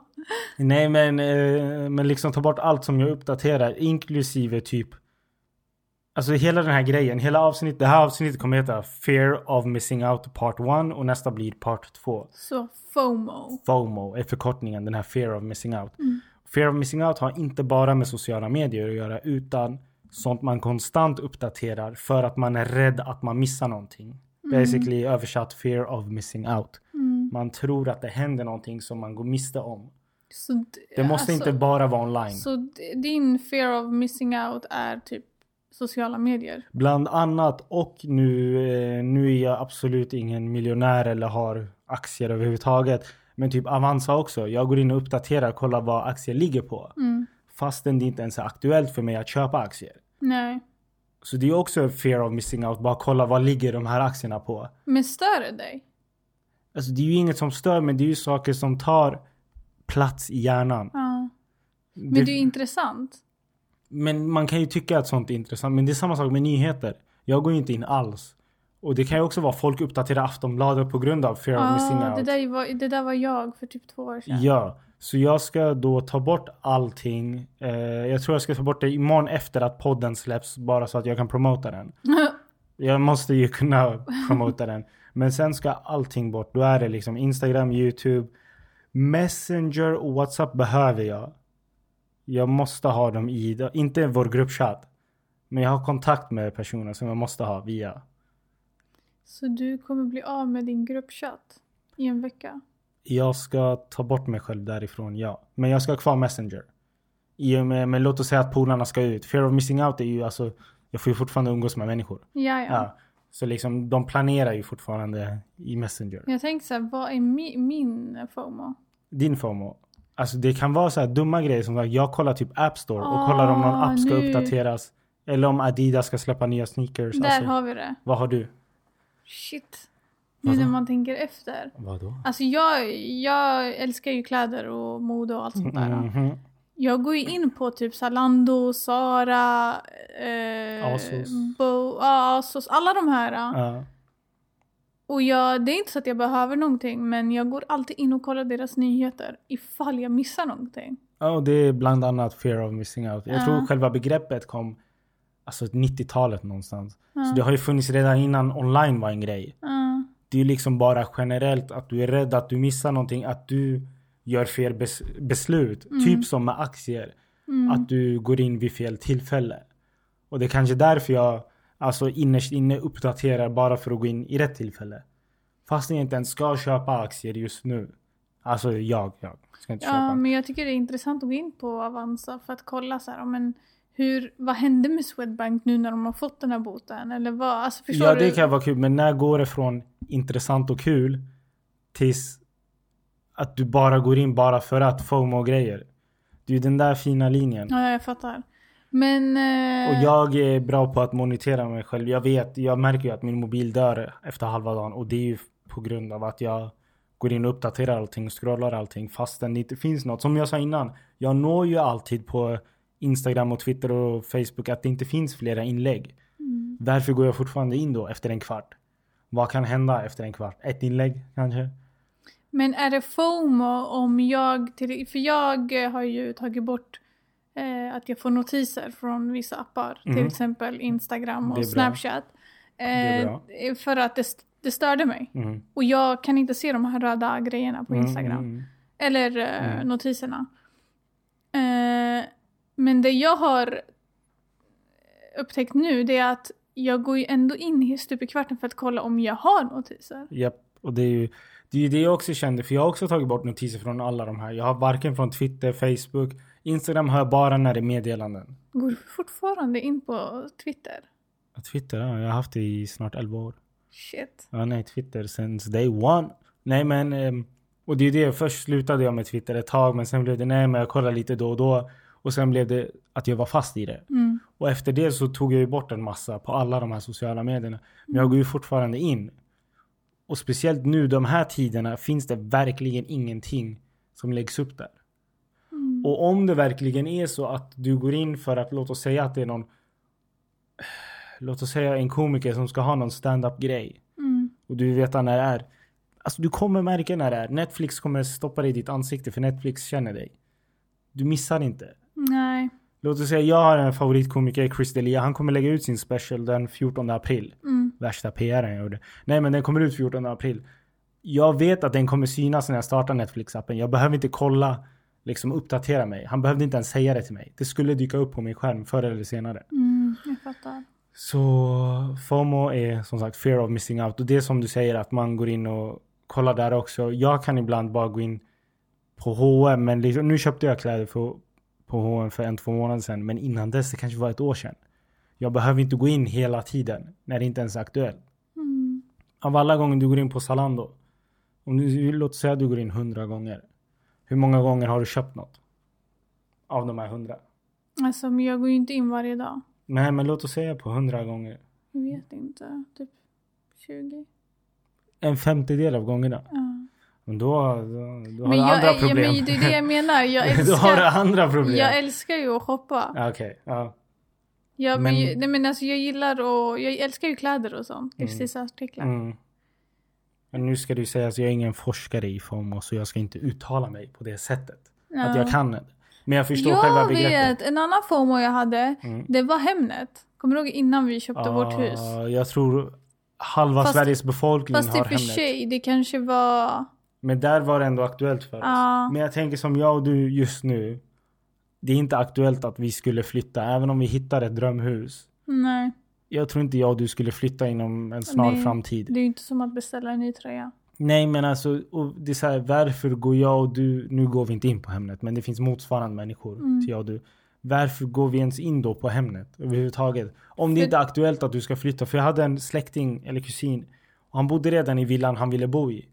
Speaker 1: Nej, men, eh, men liksom ta bort allt som jag uppdaterar, inklusive typ... Alltså hela den här grejen, hela avsnittet, det här avsnittet kommer heta Fear of Missing Out Part 1 och nästa blir Part 2.
Speaker 2: Så FOMO.
Speaker 1: FOMO är förkortningen, den här Fear of Missing Out. Fear of Missing Out har inte bara med sociala medier att göra utan sånt man konstant uppdaterar för att man är rädd att man missar någonting. Basically översatt Fear of Missing Out.
Speaker 2: Mm.
Speaker 1: Man tror att det händer någonting som man går miste om.
Speaker 2: Så d-
Speaker 1: Det måste
Speaker 2: alltså,
Speaker 1: inte bara vara online.
Speaker 2: Så d- din fear of missing out är typ sociala medier?
Speaker 1: Bland annat och nu, eh, nu är jag absolut ingen miljonär eller har aktier överhuvudtaget. Men typ Avanza också. Jag går in och uppdaterar, kollar vad aktier ligger på.
Speaker 2: Mm.
Speaker 1: Fastän det inte ens är aktuellt för mig att köpa aktier.
Speaker 2: Nej.
Speaker 1: Så det är också en fear of missing out. Bara kolla vad ligger de här aktierna på.
Speaker 2: Men stör det dig?
Speaker 1: Alltså det är ju inget som stör men det är ju saker som tar plats i hjärnan.
Speaker 2: Ja. Men
Speaker 1: Det-
Speaker 2: det är ju intressant.
Speaker 1: Men man kan ju tycka att sånt är intressant. Men det är samma sak med nyheter. Jag går ju inte in alls. Och det kan ju också vara folk uppdaterar Aftonbladet på grund av fear of missing
Speaker 2: Ah,
Speaker 1: out.
Speaker 2: det, där var, det där var jag för typ två år sedan.
Speaker 1: Ja, så jag ska då ta bort allting. Eh, jag tror jag ska ta bort det imorgon efter att podden släpps bara så att jag kan promota den. Jag måste ju kunna promota den. Men sen ska allting bort. Då är det liksom Instagram, YouTube, Messenger och WhatsApp behöver jag. Jag måste ha dem i, inte vår gruppchatt. Men jag har kontakt med personer som jag måste ha via.
Speaker 2: Så du kommer bli av med din gruppchatt i en vecka?
Speaker 1: Jag ska ta bort mig själv därifrån, ja. Men jag ska ha kvar Messenger. I och med, men låt oss säga att polarna ska ut. Fear of missing out är ju alltså, jag får ju fortfarande umgås med människor.
Speaker 2: Ja,
Speaker 1: Ja.
Speaker 2: ja.
Speaker 1: Så liksom, de planerar ju fortfarande i Messenger.
Speaker 2: Jag tänkte så här, vad är mi, min FOMO?
Speaker 1: Din FOMO. Alltså det kan vara så här dumma grejer som att jag kollar typ App Store och kollar om någon
Speaker 2: Ah,
Speaker 1: app ska
Speaker 2: nu.
Speaker 1: uppdateras. Eller om Adidas ska släppa nya sneakers.
Speaker 2: Där
Speaker 1: Alltså,
Speaker 2: har vi det.
Speaker 1: Vad har du?
Speaker 2: Shit. Nu
Speaker 1: Alltså-
Speaker 2: när man tänker efter.
Speaker 1: Vadå?
Speaker 2: Alltså jag, jag älskar ju kläder och mode och allt sånt där.
Speaker 1: Mhm.
Speaker 2: Jag går ju in på typ Zalando, Zara, eh,
Speaker 1: Asos.
Speaker 2: Bo, ja, Asos, alla de här. ja.
Speaker 1: Ja.
Speaker 2: Och jag, det är inte så att jag behöver någonting men jag går alltid in och kollar deras nyheter ifall jag missar någonting.
Speaker 1: Ja, och det är bland annat fear of missing out. Jag
Speaker 2: Ja.
Speaker 1: tror själva begreppet kom alltså 90-talet någonstans.
Speaker 2: Ja.
Speaker 1: Så det har ju funnits redan innan online var en grej.
Speaker 2: Ja.
Speaker 1: Det är ju liksom bara generellt att du är rädd att du missar någonting, att du gör fel bes- beslut. Typ som med aktier. Att du går in vid fel tillfälle. Och det är kanske därför jag alltså innerst inne uppdaterar bara för att gå in i rätt tillfälle. Fast jag inte ens ska köpa aktier just nu. Alltså jag, jag ska inte
Speaker 2: Ja,
Speaker 1: köpa.
Speaker 2: men jag tycker det är intressant att gå in på Avanza för att kolla så här, ja, men, hur, vad hände med Swedbank nu när de har fått den här boten? Eller vad, alltså förstår
Speaker 1: Ja,
Speaker 2: du?
Speaker 1: det kan vara kul. Men när går det från intressant och kul tills att du bara går in bara för att FOMO-grejer? Det är ju den där fina linjen.
Speaker 2: Ja, jag fattar. Men... eh,
Speaker 1: Och jag är bra på att monitera mig själv. Jag vet, jag märker ju att min mobil dör efter halva dagen och det är ju på grund av att jag går in och uppdaterar allting, scrollar allting fastän det inte finns något. Som jag sa innan, jag når ju alltid på Instagram och Twitter och Facebook att det inte finns flera inlägg.
Speaker 2: Mm.
Speaker 1: Därför går jag fortfarande in då efter en kvart. Vad kan hända efter en kvart? Ett inlägg kanske?
Speaker 2: Men är det FOMO om jag, till- för jag eh, har ju tagit bort eh, att jag får notiser från vissa appar, till
Speaker 1: Mm.
Speaker 2: exempel Instagram
Speaker 1: Det är
Speaker 2: och
Speaker 1: bra.
Speaker 2: Snapchat.
Speaker 1: är
Speaker 2: Eh, för att det, st- det störde mig.
Speaker 1: Mm.
Speaker 2: Och jag kan inte se de här röda grejerna på
Speaker 1: Mm,
Speaker 2: Instagram.
Speaker 1: mm, mm.
Speaker 2: Eller eh,
Speaker 1: Mm.
Speaker 2: notiserna. Eh, men det jag har upptäckt nu det är att jag går ju ändå in i stup i kvarten för att kolla om jag har notiser.
Speaker 1: Japp, och det är ju det, är ju det jag också kände. För jag har också tagit bort notiser från alla de här. Jag har varken från Twitter, Facebook. Instagram har jag bara när det är meddelanden.
Speaker 2: Går du fortfarande in på Twitter?
Speaker 1: Ja, Twitter, ja, jag har haft det i snart 11 år.
Speaker 2: Shit.
Speaker 1: Ja, nej, Twitter since day one. Nej, men... ehm, Och det är ju det, först slutade jag med Twitter ett tag men sen blev det nej, men jag kollar lite då och då. Och sen blev det att jag var fast i det.
Speaker 2: Mm.
Speaker 1: Och efter det så tog jag ju bort en massa på alla de här sociala medierna. Men jag går ju fortfarande in. Och speciellt nu de här tiderna finns det verkligen ingenting som läggs upp där.
Speaker 2: Mm.
Speaker 1: Och om det verkligen är så att du går in för att låt oss säga att det är någon Låt oss säga en komiker som ska ha någon stand-up grej
Speaker 2: Mm.
Speaker 1: och du vill veta när det är. Alltså du kommer märka när det är. Netflix kommer stoppa det i ditt ansikte för Netflix känner dig. Du missar inte.
Speaker 2: Nej.
Speaker 1: Låt oss säga jag har en favoritkomiker, Chris D'Elia. Han kommer lägga ut sin special den 14 april.
Speaker 2: Mm.
Speaker 1: Värsta PR jag gjorde. Nej men den kommer ut 14 april. Jag vet att den kommer synas när jag startar Netflix-appen. Jag behöver inte kolla, liksom uppdatera mig. Han behövde inte ens säga det till mig. Det skulle dyka upp på min skärm förr eller senare.
Speaker 2: Mm. Jag fattar.
Speaker 1: Så FOMO är som sagt fear of missing out. Och det är som du säger att man går in och kollar där också. Jag kan ibland bara gå in på H&M men liksom, nu köpte jag kläder för, på H&M för en, två månader sedan. Men innan dess, det kanske var ett år sedan. Jag behöver inte gå in hela tiden när det inte ens är aktuellt.
Speaker 2: Mm.
Speaker 1: Av alla gånger du går in på Zalando. Om du, låt säga att du går in hundra gånger. Hur många gånger har du köpt något? Av de här hundra?
Speaker 2: Alltså men jag går ju inte in varje dag.
Speaker 1: Nej men låt oss säga på hundra gånger.
Speaker 2: Jag vet inte. Typ 20.
Speaker 1: En femtedel av gångerna.
Speaker 2: Ja.
Speaker 1: Men då, då, då har
Speaker 2: Men,
Speaker 1: du
Speaker 2: jag,
Speaker 1: andra
Speaker 2: är- ja,
Speaker 1: problem.
Speaker 2: men det är det jag menar. Jag
Speaker 1: då har du
Speaker 2: älskar,
Speaker 1: andra problem.
Speaker 2: jag älskar ju att shoppa.
Speaker 1: Ja, Okej, ja.
Speaker 2: Jag, men,
Speaker 1: Men-
Speaker 2: nej, men alltså, jag gillar och jag älskar ju kläder och sånt.
Speaker 1: Mm.
Speaker 2: Livsstilsartiklar.
Speaker 1: Mm. Men nu ska du säga att jag är ingen forskare i FOMO så jag ska inte uttala mig på det sättet.
Speaker 2: Ja.
Speaker 1: Mm. Att jag kan det. Men jag förstår själva
Speaker 2: Jag
Speaker 1: begreppet.
Speaker 2: vet! En annan FOMO jag hade,
Speaker 1: Mm.
Speaker 2: det var Hemnet. Kommer du ihåg innan vi köpte vårt hus?
Speaker 1: Ah, Jag tror halva
Speaker 2: Fast-
Speaker 1: Sveriges befolkning
Speaker 2: Fast i
Speaker 1: har
Speaker 2: och för
Speaker 1: Hemnet.
Speaker 2: sig, det kanske var...
Speaker 1: Men där var det ändå aktuellt för oss.
Speaker 2: Ja.
Speaker 1: Men jag tänker som jag och du just nu. Det är inte aktuellt att vi skulle flytta även om vi hittar ett drömhus.
Speaker 2: Nej,
Speaker 1: Jag tror inte jag och du skulle flytta inom en snar
Speaker 2: Nej.
Speaker 1: framtid.
Speaker 2: det är ju inte som att beställa en ny tröja.
Speaker 1: Nej men alltså, och det är så här, varför går jag och du, nu går vi inte in på Hemnet men det finns motsvarande människor
Speaker 2: Mm.
Speaker 1: till jag och du. Varför går vi ens in då på Hemnet överhuvudtaget? Om det
Speaker 2: För-
Speaker 1: inte är aktuellt att du ska flytta. För jag hade en släkting eller kusin och han bodde redan i villan han ville bo i.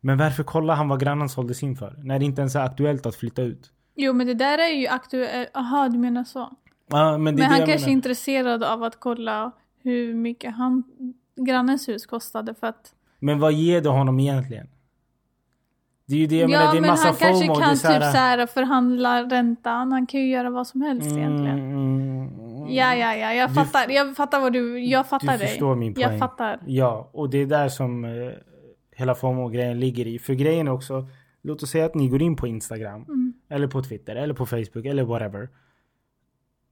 Speaker 1: Men varför kollar han vad grannen sålde sin för? När det inte ens är aktuellt att flytta ut.
Speaker 2: Jo men det där är ju aktuellt. Jaha, du menar så.
Speaker 1: Ja, men det är
Speaker 2: Men
Speaker 1: det
Speaker 2: han
Speaker 1: jag
Speaker 2: kanske är
Speaker 1: menar.
Speaker 2: intresserad av att kolla hur mycket han, grannens hus kostade för att...
Speaker 1: Men vad ger det honom egentligen? Det är ju det jag menar,
Speaker 2: ja
Speaker 1: det är
Speaker 2: men
Speaker 1: massa
Speaker 2: han kanske
Speaker 1: FOMO. det är
Speaker 2: kan typ
Speaker 1: så här-
Speaker 2: så här förhandla räntan. Han kan ju göra vad som helst egentligen.
Speaker 1: Mm, mm,
Speaker 2: Ja, ja, ja. Jag
Speaker 1: Du-
Speaker 2: fattar, jag fattar vad du... Jag fattar dig.
Speaker 1: förstår min poäng.
Speaker 2: Jag fattar.
Speaker 1: Ja, och det är där som eh, hela FOMO-grejen ligger i. För grejen är också, låt oss säga att ni går in på Instagram,
Speaker 2: Mm.
Speaker 1: eller på Twitter, eller på Facebook, eller whatever.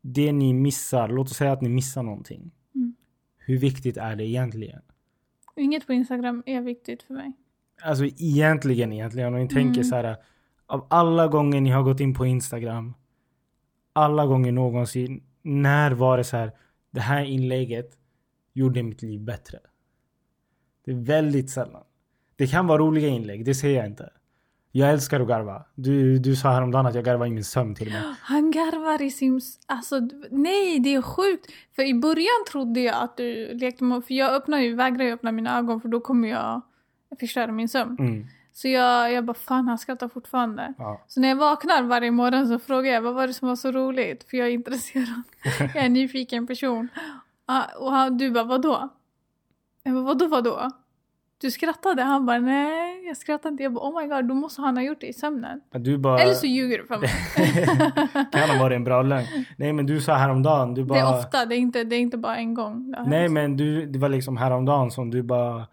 Speaker 1: Det ni missar, låt oss säga att ni missar någonting.
Speaker 2: Mm.
Speaker 1: Hur viktigt är det egentligen?
Speaker 2: Inget på Instagram är viktigt för mig.
Speaker 1: Alltså egentligen, egentligen, om ni tänker
Speaker 2: Mm.
Speaker 1: så här, av alla gånger ni har gått in på Instagram, alla gånger någonsin, när var det så här, det här inlägget gjorde mitt liv bättre? Det är väldigt sällan. Det kan vara roliga inlägg, det ser jag inte. Jag älskar att garva. Du, du sa häromdagen att jag garvar i min sömn till och med.
Speaker 2: Han garvar i sin... Alltså, d- nej, det är sjukt. För i början trodde jag att du lekte med... För jag öppnar ju, vägrar ju öppna mina ögon för då kommer jag förstöra min sömn.
Speaker 1: Mm,
Speaker 2: Så jag, jag bara, fan han skrattar fortfarande.
Speaker 1: ja.
Speaker 2: Så när jag vaknar varje morgon så frågar jag vad var det som var så roligt? För jag är intresserad. jag är en nyfiken person. Ja, Och han, du bara, vadå? Jag bara, vadå vadå? Du skrattade? Han bara, nej jag skrattade inte. Jag bara, oh my god, då måste han ha gjort det i sömnen.
Speaker 1: Men Du bara...
Speaker 2: Eller så ljuger du för mig.
Speaker 1: kan ha varit en bra lögn. Nej men du sa häromdagen, du bara...
Speaker 2: Det är ofta, det är inte, det är inte bara en gång. det har
Speaker 1: Nej
Speaker 2: hänt.
Speaker 1: men du, det var liksom häromdagen som du bara...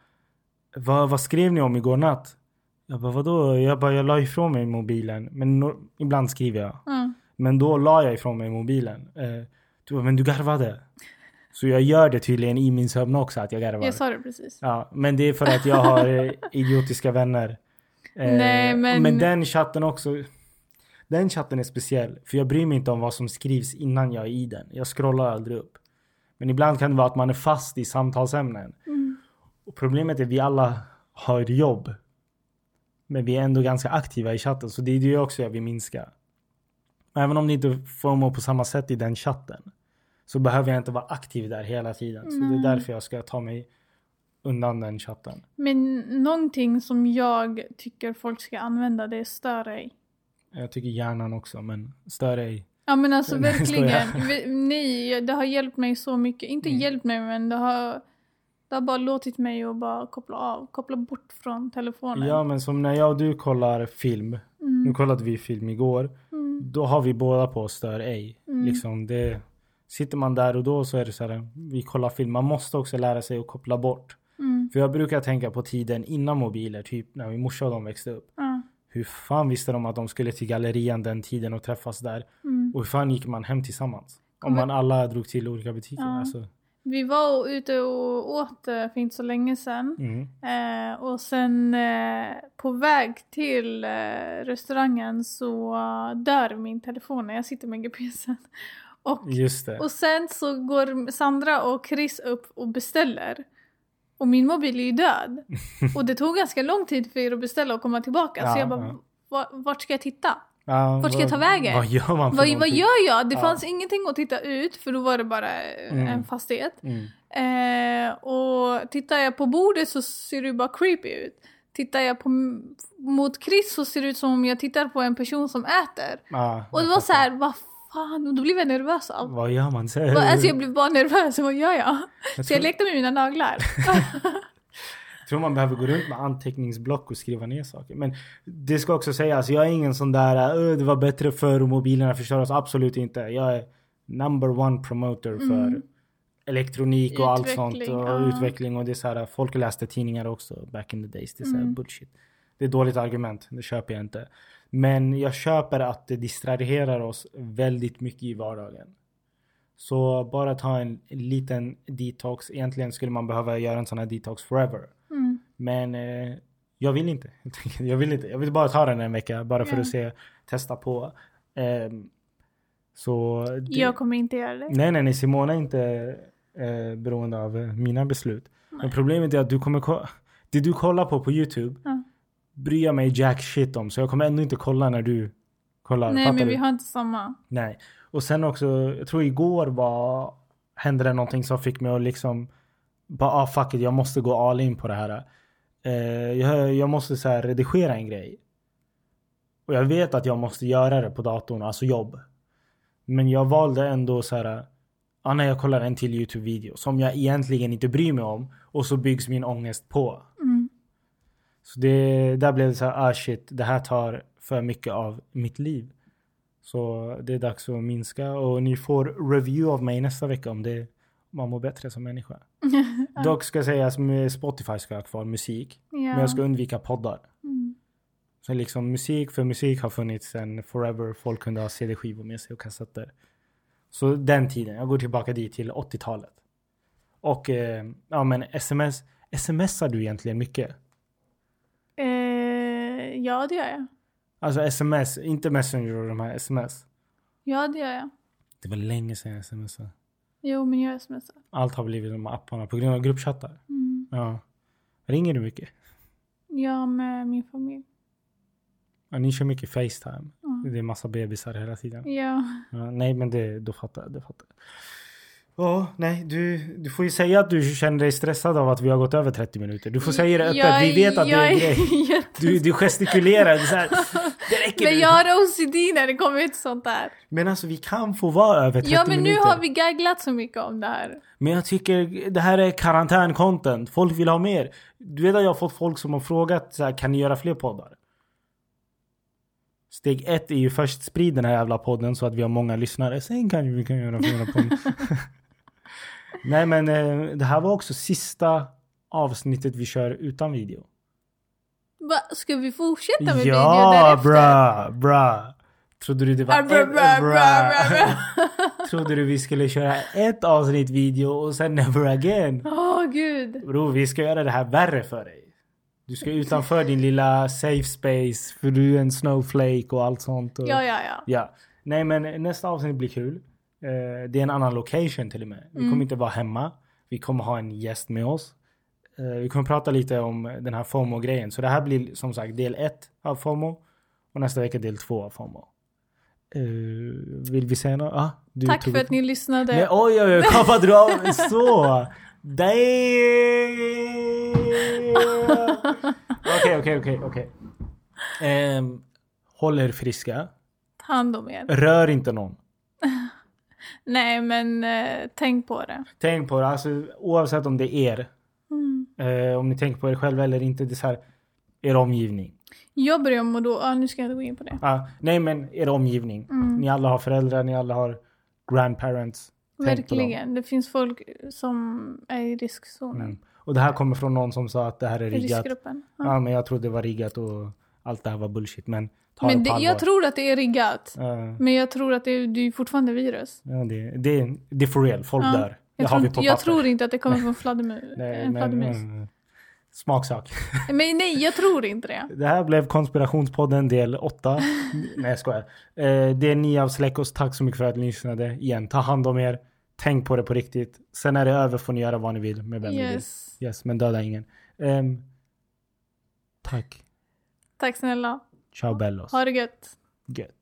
Speaker 1: Vad, vad skrev ni om igår natt? Jag bara vadå? Jag bara jag la ifrån mig mobilen. Men no, ibland skriver jag.
Speaker 2: Mm.
Speaker 1: Men då la jag ifrån mig mobilen. Eh, du bara, men du garvade. Så jag gör det tydligen i min sömn också att jag garvar.
Speaker 2: Jag sa det precis.
Speaker 1: Ja, men det är för att jag har eh, idiotiska vänner. Eh,
Speaker 2: Nej, men-
Speaker 1: men den chatten också. Den chatten är speciell. För jag bryr mig inte om vad som skrivs innan jag är i den. Jag scrollar aldrig upp. Men ibland kan det vara att man är fast i samtalsämnen.
Speaker 2: Mm.
Speaker 1: Och problemet är att vi alla har ett jobb. Men vi är ändå ganska aktiva i chatten. Så det är det också jag vill minska. Även om det inte får må på samma sätt i den chatten. Så behöver jag inte vara aktiv där hela tiden. Så det är därför jag ska ta mig undan den chatten.
Speaker 2: Men någonting som jag tycker folk ska använda det är stör ej.
Speaker 1: Jag tycker hjärnan också men stör ej.
Speaker 2: Ja men alltså
Speaker 1: Nej,
Speaker 2: verkligen.
Speaker 1: skojar. Mm.
Speaker 2: Vi- Nej, jag- det har hjälpt mig så mycket. Inte hjälpt mig men det har, det har bara låtit mig att bara koppla av. Koppla bort från telefonen.
Speaker 1: Ja men Mm. som när jag och du kollar film. Nu kollade vi film igår. Då har vi båda på stör ej. Liksom det, sitter man där och då så är det så här. Vi kollar film. Man måste också lära sig att koppla bort.
Speaker 2: Mm.
Speaker 1: För jag brukar tänka på tiden innan mobiler. Typ när min morsa och de växte upp.
Speaker 2: Ja.
Speaker 1: Hur fan visste de att de skulle till gallerian den tiden och träffas där?
Speaker 2: Mm.
Speaker 1: Och hur fan gick man hem tillsammans? Om
Speaker 2: Kommer-
Speaker 1: man alla drog till olika butiker.
Speaker 2: Ja.
Speaker 1: Alltså,
Speaker 2: Vi var ute och åt eh, för inte så länge sedan.
Speaker 1: mm.
Speaker 2: Eh, och sen eh, på väg till eh, restaurangen så dör min telefon när jag sitter med GPSen. Och,
Speaker 1: Just det.
Speaker 2: och sen så går Sandra och Chris upp och beställer. Och min mobil är ju död. Och det tog ganska lång tid för er att beställa och komma tillbaka.
Speaker 1: Ja,
Speaker 2: så jag
Speaker 1: ja.
Speaker 2: bara, "Va- vart ska jag titta?
Speaker 1: Ja,
Speaker 2: Vart ska jag ta
Speaker 1: vad-
Speaker 2: vägen?
Speaker 1: Vad gör man för
Speaker 2: Vad, vad
Speaker 1: någonting?
Speaker 2: gör jag? Det
Speaker 1: Ja.
Speaker 2: fanns ingenting att titta ut för då var det bara eh,
Speaker 1: Mm.
Speaker 2: en fastighet.
Speaker 1: Mm.
Speaker 2: Eh, och tittar jag på bordet så ser det ju bara creepy ut. Tittar jag på, mot Chris så ser det ut som om jag tittar på en person som äter.
Speaker 1: Ja,
Speaker 2: Och det
Speaker 1: jag
Speaker 2: var så
Speaker 1: fattar.
Speaker 2: här, vad fan, och då blev jag nervös av.
Speaker 1: Vad gör man? Så,
Speaker 2: Alltså jag blev bara nervös, vad gör jag?
Speaker 1: Jag
Speaker 2: Så
Speaker 1: tror,
Speaker 2: jag lekte med mina naglar.
Speaker 1: tror man behöver gå runt med anteckningsblock och skriva ner saker. Men det ska också sägas, jag är ingen sån där "Ö, det var bättre förr och mobilerna förstör oss. Absolut inte. Jag är number one promoter för elektronik och allt sånt
Speaker 2: Mm. Utveckling,
Speaker 1: och
Speaker 2: ja.
Speaker 1: utveckling. Och det är så här, folk läste tidningar också back in the days. Det är så
Speaker 2: Mm.
Speaker 1: här, bullshit. Det är ett dåligt argument, det köper jag inte. Men jag köper att det distraherar oss väldigt mycket i vardagen. Så bara ta en liten detox. Egentligen skulle man behöva göra en sån här detox forever.
Speaker 2: Mm.
Speaker 1: Men eh, jag vill inte. helt enkelt. Jag vill inte. Jag vill bara ta den en vecka bara för
Speaker 2: Ja.
Speaker 1: att se, testa på. Ehm, så det,
Speaker 2: Jag kommer inte göra det.
Speaker 1: nej, nej, nej, Simona är inte eh, beroende av eh, mina beslut. Men problemet är att du kommer ko- det du kollar på på Youtube
Speaker 2: Ja.
Speaker 1: bryr jag mig jack shit om. Så jag kommer ändå inte kolla när du kollar.
Speaker 2: Nej
Speaker 1: Fattar
Speaker 2: men
Speaker 1: du?
Speaker 2: vi har inte samma.
Speaker 1: Nej. Och sen också, jag tror igår var, hände det någonting som fick mig att liksom bara ah fuck it, jag måste gå all in på det här. Eh, jag, jag måste så här redigera en grej. Och jag vet att jag måste göra det på datorn, alltså jobb. Men jag valde ändå så här, ah, nej, jag kollar en till YouTube-video som jag egentligen inte bryr mig om och så byggs min ångest på.
Speaker 2: Mm.
Speaker 1: Så det, där blev det så här, ah shit, det här tar för mycket av mitt liv. Så det är dags att minska och ni får review av mig nästa vecka om det om man mår bättre som människa. Dock ska sägas med Spotify ska jag ha kvar musik. Men
Speaker 2: Ja.
Speaker 1: jag ska undvika poddar.
Speaker 2: Mm.
Speaker 1: Så liksom musik för musik har funnits sedan forever. Folk kunde ha CD-skivor med sig och kassetter. Så den tiden, jag går tillbaka dit till 80-talet. Och eh, ja men sms, smsar du egentligen mycket?
Speaker 2: Eh, ja det gör jag.
Speaker 1: Alltså sms, inte messenger och de här sms.
Speaker 2: Ja det gör jag.
Speaker 1: Det var länge sedan jag smsade.
Speaker 2: Jo men jag smsar.
Speaker 1: Allt har blivit de här apparna på grund av gruppchattar.
Speaker 2: Mm.
Speaker 1: Ja. Ringer du mycket?
Speaker 2: Jag med min familj.
Speaker 1: Ja, ni kör mycket Facetime. Det är massa bebisar hela tiden.
Speaker 2: Ja.
Speaker 1: Ja, nej, men det, då fattar jag. Då fattar jag. Ja, nej, du, du får ju säga att du känner dig stressad av att vi har gått över 30 minuter. Du får säga det öppet.
Speaker 2: Jag-
Speaker 1: vi vet att det är
Speaker 2: jag
Speaker 1: en grej.
Speaker 2: jätte-
Speaker 1: Du, du gestikulerar. Det, är så här, det räcker
Speaker 2: Men
Speaker 1: nu.
Speaker 2: jag har OCD när det kommer till sånt där.
Speaker 1: Men alltså vi kan få vara över 30
Speaker 2: Ja men nu
Speaker 1: minuter.
Speaker 2: har vi gagglat så mycket om det här.
Speaker 1: Men jag tycker det här är karantän-content. Folk vill ha mer. Du vet att jag har fått folk som har frågat så här, kan ni göra fler poddar? Steg ett är ju först sprid den här jävla podden så att vi har många lyssnare. Sen kanske vi kan göra fler poddar. Nej men eh, det här var också sista avsnittet vi kör utan video.
Speaker 2: Va, ska vi fortsätta med video
Speaker 1: Ja
Speaker 2: därefter?
Speaker 1: bra, bra. Trodde du det var
Speaker 2: Ah, bra,
Speaker 1: en-
Speaker 2: bra, bra, bra,
Speaker 1: Trodde du vi skulle köra ett avsnitt video och sen never again?
Speaker 2: bra. Åh gud.
Speaker 1: Bro, vi ska göra det här värre för dig. Du ska utanför din lilla safe space för du är en snowflake och allt sånt. Och...
Speaker 2: Ja ja ja.
Speaker 1: ja. Nej men nästa avsnitt blir kul. Eh, det är en annan location till och med. Vi
Speaker 2: Mm.
Speaker 1: kommer inte vara hemma. Vi kommer ha en gäst med oss. Eh, vi kommer prata lite om den här FOMO-grejen. Så det här blir som sagt del ett av FOMO. Och nästa vecka del två av FOMO. Eh, vill vi säga något? Ah, du
Speaker 2: Tack
Speaker 1: tog
Speaker 2: för
Speaker 1: upp-
Speaker 2: att ni lyssnade.
Speaker 1: Nej, oj, oj, oj, kappade du av mig så? Damn! Okej, okej, okej, okej. Ehm, Håll er friska.
Speaker 2: Ta hand om er.
Speaker 1: Rör inte någon.
Speaker 2: Nej men eh, tänk på det.
Speaker 1: Tänk på det, alltså, oavsett om det är er,
Speaker 2: Mm.
Speaker 1: eh, om ni tänker på er själva eller inte, det är så här, er omgivning.
Speaker 2: Jag börjar må då... Ah, nu ska jag inte gå in på det.
Speaker 1: Ah, nej, men er omgivning.
Speaker 2: Mm.
Speaker 1: Ni alla har föräldrar, ni alla har grandparents. Tänk på dem.
Speaker 2: Verkligen. Det finns folk som är i riskzonen.
Speaker 1: Mm. Och det här kommer från någon som sa att det här är riggat.
Speaker 2: Riskgruppen. Ja.
Speaker 1: Ja, men jag trodde det var riggat och allt det här var bullshit. Men ta
Speaker 2: Men
Speaker 1: det
Speaker 2: det,
Speaker 1: på
Speaker 2: jag
Speaker 1: allvar.
Speaker 2: tror att det är riggat.
Speaker 1: Ja,
Speaker 2: Men jag tror att det, det är fortfarande virus.
Speaker 1: ja, det, det, det är for real. Folk
Speaker 2: Ja.
Speaker 1: dör. Det
Speaker 2: Jag,
Speaker 1: har
Speaker 2: tror,
Speaker 1: vi på
Speaker 2: inte-
Speaker 1: papper.
Speaker 2: jag tror inte att det kommer från fladdermus.
Speaker 1: Nej,
Speaker 2: en
Speaker 1: men,
Speaker 2: fladdermus.
Speaker 1: mm, smaksak.
Speaker 2: Men nej, jag tror inte det.
Speaker 1: Det här blev konspirationspodden del 8. Nej jag skojar. Eh, Det är ni av Släckos. Tack så mycket för att ni lyssnade. Igen, ta hand om er. Tänk på det på riktigt. Sen när det är över får ni göra vad ni vill med vem ni vill.
Speaker 2: Yes.
Speaker 1: Yes, men döda ingen. Ehm, tack.
Speaker 2: Tack snälla.
Speaker 1: Ciao bellos.
Speaker 2: Ha det gött.
Speaker 1: Gött.